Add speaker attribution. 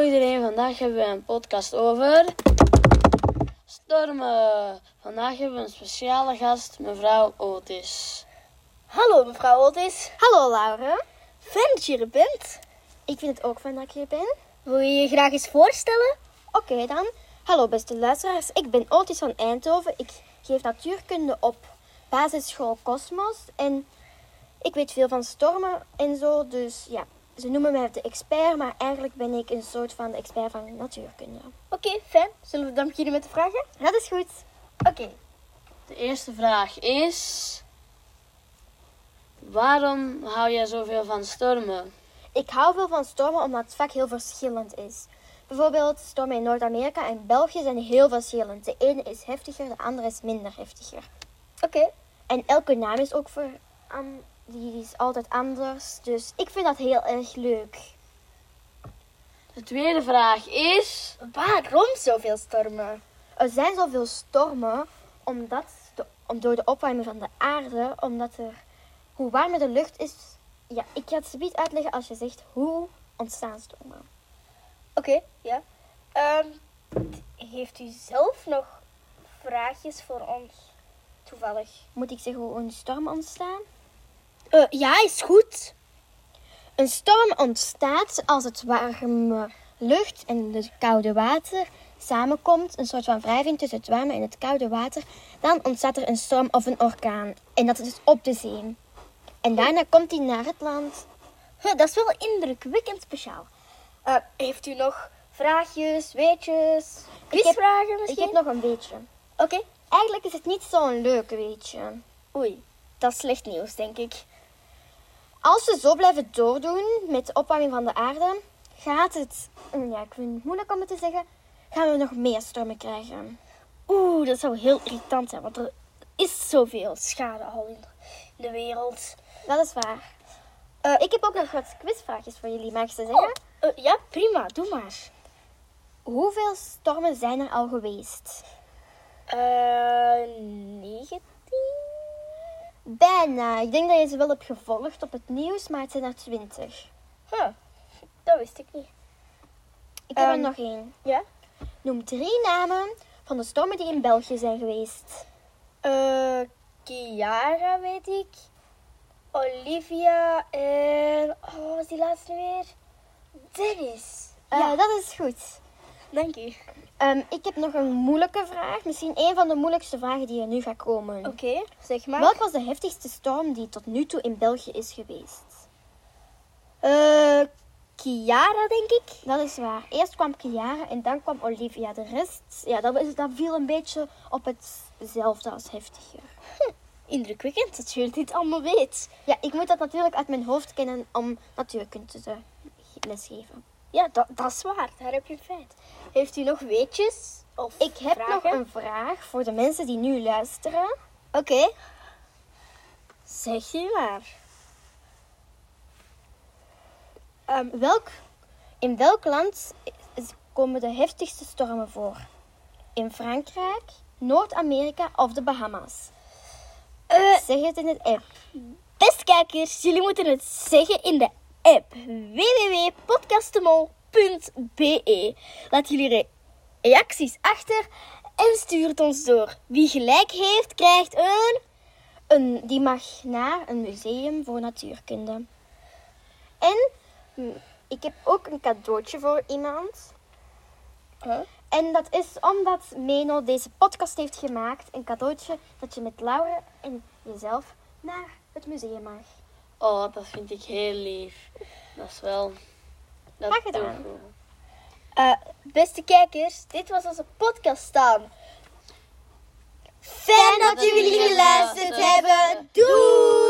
Speaker 1: vandaag hebben we een podcast over stormen. Vandaag hebben we een speciale gast, mevrouw Otis.
Speaker 2: Hallo mevrouw Otis.
Speaker 3: Hallo Laura,
Speaker 2: Fijn dat je er bent.
Speaker 3: ik vind het ook fijn dat ik hier ben.
Speaker 2: Wil je je graag eens voorstellen?
Speaker 3: Oké dan. Hallo beste luisteraars, ik ben Otis van Eindhoven. Ik geef natuurkunde op basisschool Cosmos. En ik weet veel van stormen en zo, dus ja. Ze noemen mij de expert, maar eigenlijk ben ik een soort van de expert van natuurkunde.
Speaker 2: Oké, fijn. Zullen we dan beginnen met de vragen?
Speaker 3: Dat is goed.
Speaker 2: Oké.
Speaker 1: De eerste vraag is: Waarom hou jij zoveel van stormen?
Speaker 3: Ik hou veel van stormen omdat het vak heel verschillend is. Bijvoorbeeld stormen in Noord-Amerika en België zijn heel verschillend. De ene is heftiger, de andere is minder heftiger.
Speaker 2: Oké.
Speaker 3: En elke naam is ook voor an- die is altijd anders. Dus ik vind dat heel erg leuk.
Speaker 1: De tweede vraag is:
Speaker 2: Waarom zoveel stormen?
Speaker 3: Er zijn zoveel stormen omdat de, om, door de opwarming van de aarde, omdat er hoe warmer de lucht is. Ja, ik ga het gebied uitleggen als je zegt hoe ontstaan stormen.
Speaker 2: Oké, ja. Ehm, heeft u zelf nog vraagjes voor ons? Toevallig.
Speaker 3: Moet ik zeggen hoe een storm ontstaan? Eh,
Speaker 2: ja, is goed.
Speaker 3: Een storm ontstaat als het warme lucht en het koude water samenkomt. Een soort van wrijving tussen het warme en het koude water. Dan ontstaat er een storm of een orkaan. En dat is dus op de zee. En daarna komt die naar het land.
Speaker 2: dat is wel indrukwekkend speciaal. Eh, heeft u nog vraagjes, weetjes, quizvragen
Speaker 3: Ik
Speaker 2: misschien?
Speaker 3: heb nog een beetje.
Speaker 2: Oké.
Speaker 3: Eigenlijk is het niet zo'n leuk weetje.
Speaker 2: Oei, dat is slecht nieuws, denk ik.
Speaker 3: Als we zo blijven doordoen met de opwarming van de aarde, gaat het... mm, Ja, ik vind het moeilijk om het te zeggen. Gaan we nog meer stormen krijgen.
Speaker 2: Oeh, dat zou heel irritant zijn, want er is zoveel schade al in de wereld.
Speaker 3: Dat is waar. Eh, ik heb ook nog wat quizvraagjes voor jullie, mag ik ze zeggen?
Speaker 2: Oh, eh, ja, prima, doe maar.
Speaker 3: Hoeveel stormen zijn er al geweest?
Speaker 2: Eh 19?
Speaker 3: Bijna. Ik denk dat je ze wel hebt gevolgd op het nieuws, maar het zijn er twintig.
Speaker 2: Huh, dat wist ik niet.
Speaker 3: Ik heb er
Speaker 2: Ehm.
Speaker 3: nog één.
Speaker 2: Ja?
Speaker 3: Noem drie namen van de stormen die in België zijn geweest.
Speaker 2: Eh Kiara weet ik. Olivia en... Oh, wat was die laatste weer? Dennis.
Speaker 3: Eh, dat is goed.
Speaker 2: Dank u.
Speaker 3: Ehm, ik heb nog een moeilijke vraag. Misschien een van de moeilijkste vragen die er nu gaat komen.
Speaker 2: Oké, zeg maar.
Speaker 3: Welk was de heftigste storm die tot nu toe in België is geweest?
Speaker 2: Eh, Kiara, denk ik.
Speaker 3: Dat is waar. Eerst kwam Kiara en dan kwam Olivia. De rest, ja, dat, is- dat viel een beetje op hetzelfde als heftiger.
Speaker 2: Indrukwekkend dat je dit allemaal weet.
Speaker 3: Ja, ik moet dat natuurlijk uit mijn hoofd kennen om natuurkunde te lesgeven.
Speaker 2: Ja, dat, dat is waar. Daar heb je een feit. Heeft u nog weetjes? Of
Speaker 3: Ik heb
Speaker 2: vragen?
Speaker 3: nog een vraag voor de mensen die nu luisteren.
Speaker 2: Oké. Zeg je maar.
Speaker 3: Ehm, welk, in welk land is- komen de heftigste stormen voor? In Frankrijk, Noord-Amerika of de Bahamas?
Speaker 2: Eh,
Speaker 3: Zeg het in het app.
Speaker 2: beste kijkers, jullie moeten het zeggen in de app. www.podcastemol.be Laat jullie re- reacties achter en stuur het ons door. Wie gelijk heeft, krijgt een...
Speaker 3: Een, die mag naar een museum voor natuurkunde. En mm, ik heb ook een cadeautje voor iemand. En dat is omdat Meno deze podcast heeft gemaakt. Een cadeautje dat je met Laura en jezelf naar het museum mag.
Speaker 1: Oh, dat vind ik heel lief. Dat is wel. Dat
Speaker 3: Graag gedaan.
Speaker 1: doet goed.
Speaker 2: Eh, beste kijkers, dit was onze podcast staan. Fijn dat jullie geluisterd hebben. Doei!